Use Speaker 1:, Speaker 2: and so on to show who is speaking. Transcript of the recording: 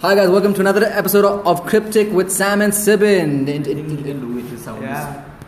Speaker 1: Hi guys, welcome to another episode of Cryptic with Sam and Sibin.
Speaker 2: I think you can do it. The sound is
Speaker 3: Yeah.